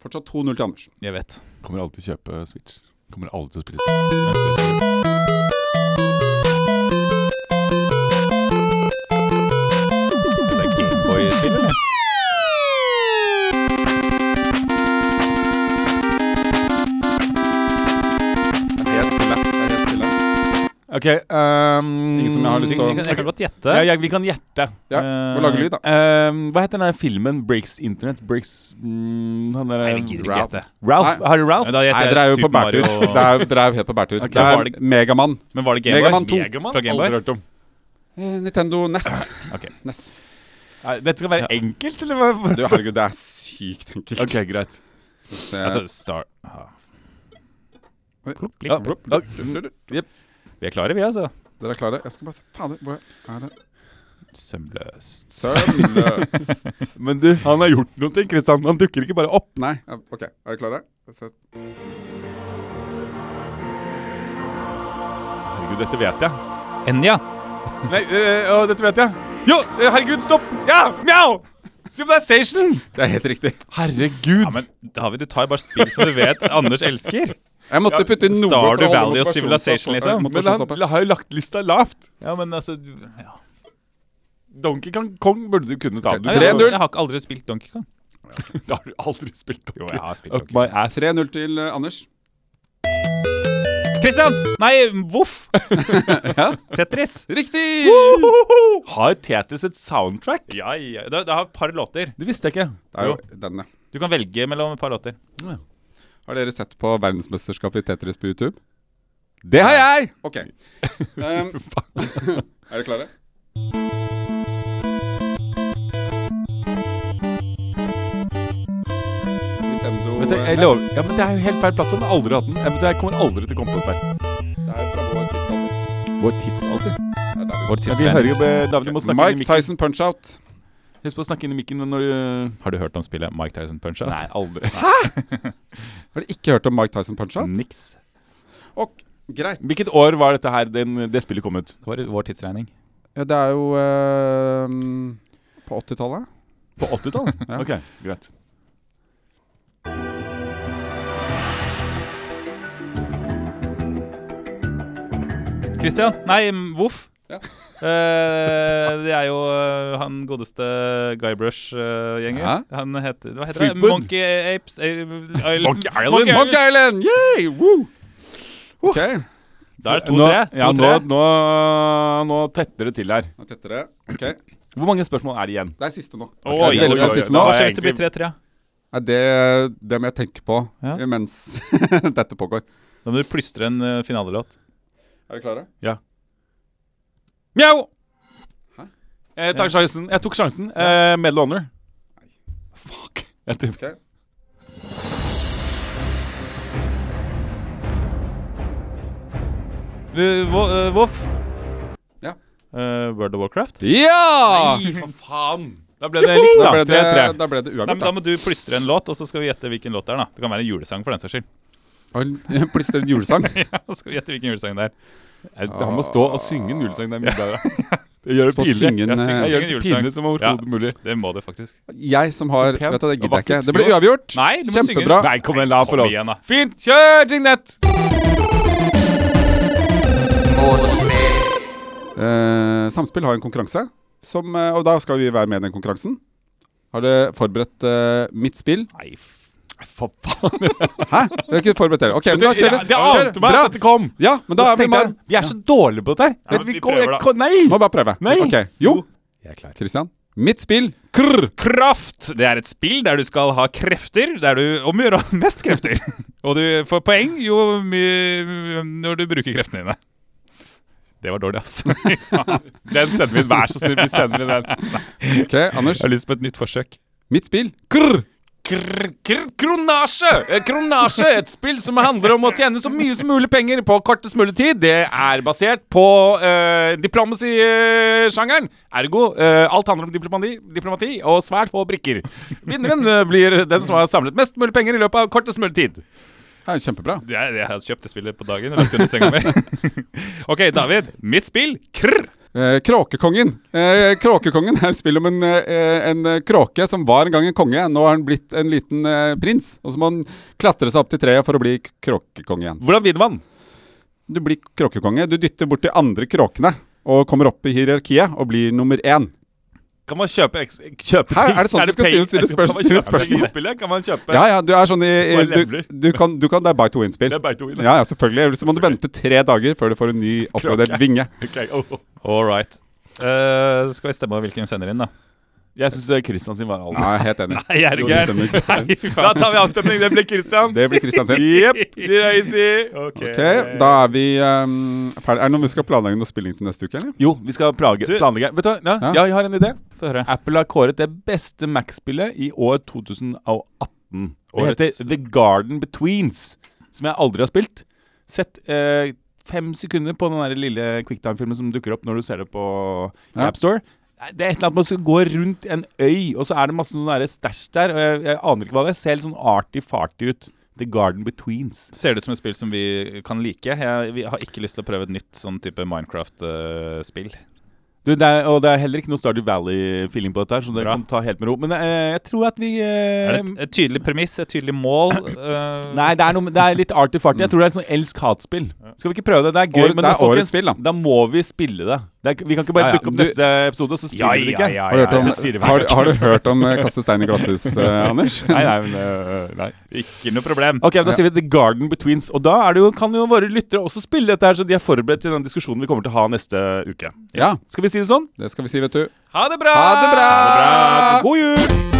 Fortsatt 2-0 til Anders. Jeg vet. Kommer alltid til å kjøpe Switch. Kommer alltid til å spille Zelda. Det er Gameboy-spill, eller? Det er helt stille. Det er helt stille. Ok, um, Ingen som jeg har lyst til å- Jeg kan- Jeg kan godt gjette. ja, jeg, Vi kan gjette. Ja, må lage lyd, da. Eh, Um, hva heter den der filmen? Breaks Internet? Breaks mm, han der, Nei, jeg gidder ikke Ralph. gjette. Ralph? Nei. Har du Men Ralph? da gjetter Nei, jeg dere er jo på Super Mario bærtur. og- Dere er, dere er jo helt på bærtur. Ok, det var er det- Megamann. Men var det Megaman Gameboy? to. Megaman? Fra Game Boy? Aldri hørt om. Eh, Nintendo NES. Ok. NES. Nei, dette skal være enkelt, eller hva? E Du, herregud, det er sykt enkelt. Eh, Ok, greit. Det- Altså, Star... Ah. Oi. Plopp, Ja, plopp, plopp. blup, blup. Vi er klare, vi, altså. dere er klare? Jeg skal bare se Fader, hvor er det Sømløst. Søvnløs. Men du, han har gjort noe, Kristian. Han dukker ikke bare opp. Nei, ja, OK. Er dere klare? Så- Herregud, dette vet jeg. Enja. Nei, øh, øh, dette vet jeg. Jo, øh, herregud, stopp! Ja, mjau! Civilization! Det er helt riktig. Herregud. Ja, men David, du tar bare spill som du vet Anders elsker. Jeg måtte putte inn noe Stardew for å holde Valley og motivasjons- Civilization, liksom. motivasjons- men han la- har jo lagt lista lavt. Ja, men altså du- ja. Donkey Kong, Kong burde du kunne ta. Ok, Du, Nei, Tre- har- 3-0. jeg, jeg har ikke aldri spilt Donkey Kong. har du aldri spilt Donkey Jo, jeg har spilt Up Donkey my ass. 3-0 til eh, Anders. Christian! Nei, voff! Tetris. Riktig! Har Tetris et soundtrack? Ja, ja. Det, det har et par låter. Det visste jeg ikke. Det er jo den, ja. Du kan velge mellom et par låter. Har dere sett på verdensmesterskapet i Tetris på YouTube? Det har jeg! OK. Um, er dere klare? Nintendo Vet du, jeg NES. lover. Ja, men Det er jo helt feil plattform. Jeg har aldri hatt den. Jeg, vet du, jeg kommer aldri til å komme på dette. her. eh, Det er fra vår tidsalder. Vår tidsalder. Det er der. Vår Ja, vi hører jo eh, David, du må snakke inn i Mike mikken. Tyson Punch-Out. Husk på å snakke inn i mikken når du Har du hørt om spillet Mike Tyson Punch-Out? Nei, aldri. Har dere ikke hørt om Mike Tyson Punch-Out? Niks. Og greit. Hvilket år var dette her, den, det spillet kom ut? Det var i vår tidsregning. Ja, det er jo eh, på 80-tallet. På 80-tallet? Ok, greit. Christian. Nei, mm, voff. Ja. Eh, det er jo eh, han godeste Guy Brush-gjengen. Ja. Han heter Hva heter det? Fleetwood. Monkey Apes eh, Island. Monkey Island. Monkey Monkey Island! Yay! Woo! Ok, nå Da er det Nå- to-tre. Ja, nå, nå, nå tetter det til her. tetter det. Ok, Det Hvor mange spørsmål er det igjen? er siste nå. Oi, Ok, det er oi, oi, siste Da nå. har er jeg sjansen til å bli tre-tre. Nei, det, det må jeg tenke på Ja. mens dette pågår. Da må du plystre en eh, finalelåt. Er dere klare? Ja. Mjau! Hæ? Eh, Jeg tar sjansen. Jeg tok sjansen. Eh, Medal of Honor. Fuck. Jeg tipper- Ok. Du, Wo- eh, Voff. Ja. Eh, World of Warcraft. Ja! Nei, for faen! Da ble det likt, Da da. ble det, 3-3. da ble det Nei, men uavgjort, Da da. må du plystre en låt, og så skal vi gjette hvilken låt det er. da Det kan være en julesang for den saks skyld. Og Plystrer en julesang. Ja, så skal vi gjette hvilken julesang det er Jeg- Han må stå og synge en julesang. Det er mye bedre. Det gjør det Stå og synge pinlig. en, Jeg synger- eh, Jeg gjør det Synge så en pinlig julesang. som overhodet mulig. Det må det faktisk. Jeg som har Så pent Vet du, Det gidder jeg og ikke. vakkert. Det ble uavgjort. Nei, du må synge Kjempebra. Nei, kom igjen, la han få Kom lov. igjen, da. Fint, kjør, Jignett! Målsmed. Eh, Samspill har en konkurranse, som, eh, og da skal vi være med i den konkurransen. Har du forberedt eh, mitt spill? Nei, f- for faen. Hæ? Du har ikke forberedt dere? Ok, men da Det, kjører vi. det ante meg at Kjør. dette Bra. kom. Ja, men da Og så er vi tenkte med. jeg, vi er så dårlige på dette her. Ja, Vet men vi vi kom- prøver, jeg da. kom- Må Nei! bare prøve. Nei. Ok, Jo, Jeg er klar. Christian. Mitt spill. Krr. Kraft! Det er et spill der du skal ha krefter. Der du om å gjøre mest krefter. Og du får poeng jo mye når du bruker kreftene dine. Det var dårlig, ass. Jeg Den sender vi inn, vær så snill. Vi sender inn den. Ok, Anders. har lyst på et nytt forsøk. Mitt spill. Krr. Kr kr kronasje! Eh, Kronasje, et spill som handler om å tjene så mye som mulig penger på kortest mulig tid. Det er basert på uh, diplomacy-sjangeren. Ergo, eh, alt handler om diplomati, diplomati og svært få brikker. Vinneren eh, blir den som har samlet mest mulig penger i løpet av kortest mulig tid. Ja, kjempebra. Det er- Jeg har kjøpt det spillet på dagen og lagt det under senga mi. OK, David. Mitt spill. Krr! Eh, Kråkekongen. Eh, Kråkekongen er et spill om en, eh, en eh, kråke som var en gang en konge. Nå har han blitt en liten eh, prins. Og så må han klatre seg opp til treet for å bli k- kråkekonge igjen. Hvordan vinner man? Du blir kråkekonge. Du dytter bort de andre kråkene og kommer opp i hierarkiet og blir nummer én. Kan man kjøpe, eks- kjøpe Hæ, er det sånn du skal pay- stille- stille Kan man spørs- stille kjøpe spørsmål? i spillet? Kan man kjøpe Ja, ja, du er sånn i, i Bare du, leveler. du, kan, du kan Det er by to win-spill. Det er by to win, ja. Ja, ja, selvfølgelig. Ellers så må du vente tre dager før du får en ny oppgradert Kråke. vinge. Ok, oh, åh. All right. Eh, skal vi stemme over hvilken vi sender inn, da? Jeg syns Kristian sin var aller Ja, jeg er helt enig. Nei, er Jo, du det gæren? stemmer, Kristian. Nei, fy Da faen. tar vi avstemning. Det blir Kristian. Det blir Kristian sin. Jepp. Det er easy. Ok, Eh, Da er vi um, ferdig. Er det noe vi skal planlegge noe spilling til neste uke, eller? Jo, vi skal plage, Du- planlegge. Vet du hva, ja, Ja. ja, jeg har en idé. Få høre. Apple har kåret det beste Mac-spillet i år 2018. Det Årets- heter The Garden Betweens, som jeg aldri har spilt. Sett eh, fem sekunder på den der lille quicktime-filmen som dukker opp når du ser det på Ja. AppStore. Det er et eller annet Man skal gå rundt en øy, og så er det masse sånn der stæsj der. Og jeg, jeg aner ikke hva det er. Ser litt sånn arty-farty ut. The Garden Betweens. Ser det ut som et spill som vi kan like? Jeg vi har ikke lyst til å prøve et nytt sånn type Minecraft-spill. Du, det er, og det er heller ikke noe Stardew Valley-feeling på dette, her, så dere Bra. kan ta helt med ro. Men eh, jeg tror at vi eh, er det et, et tydelig premiss, et tydelig mål? eh, Nei, det er, noe, med- det er litt arty-farty. Jeg tror det er et sånn elsk-hat-spill. Skal vi ikke prøve det? Det er gøy, Året- men det er folkens, årets spill, da. da må vi spille det. det er, vi kan ikke bare Ja, ja. dukke opp Du- neste episode, og så spiller Ja, vi det ja, ikke. ja, Har du hørt ja, om, det sier det har, har du hørt om eh, kaste stein i glasshus, eh, Anders? Nei, nei, men, eh, øh, nei. Ikke noe problem. Ok, da sier vi The Garden Betweens. Og da er det jo, kan jo våre lyttere også spille dette her, så de er forberedt til den diskusjonen vi kommer til å ha neste uke. Ja, Skal vi si det sånn? det skal vi si, vet du. Ha det bra! Ha det bra! God jul!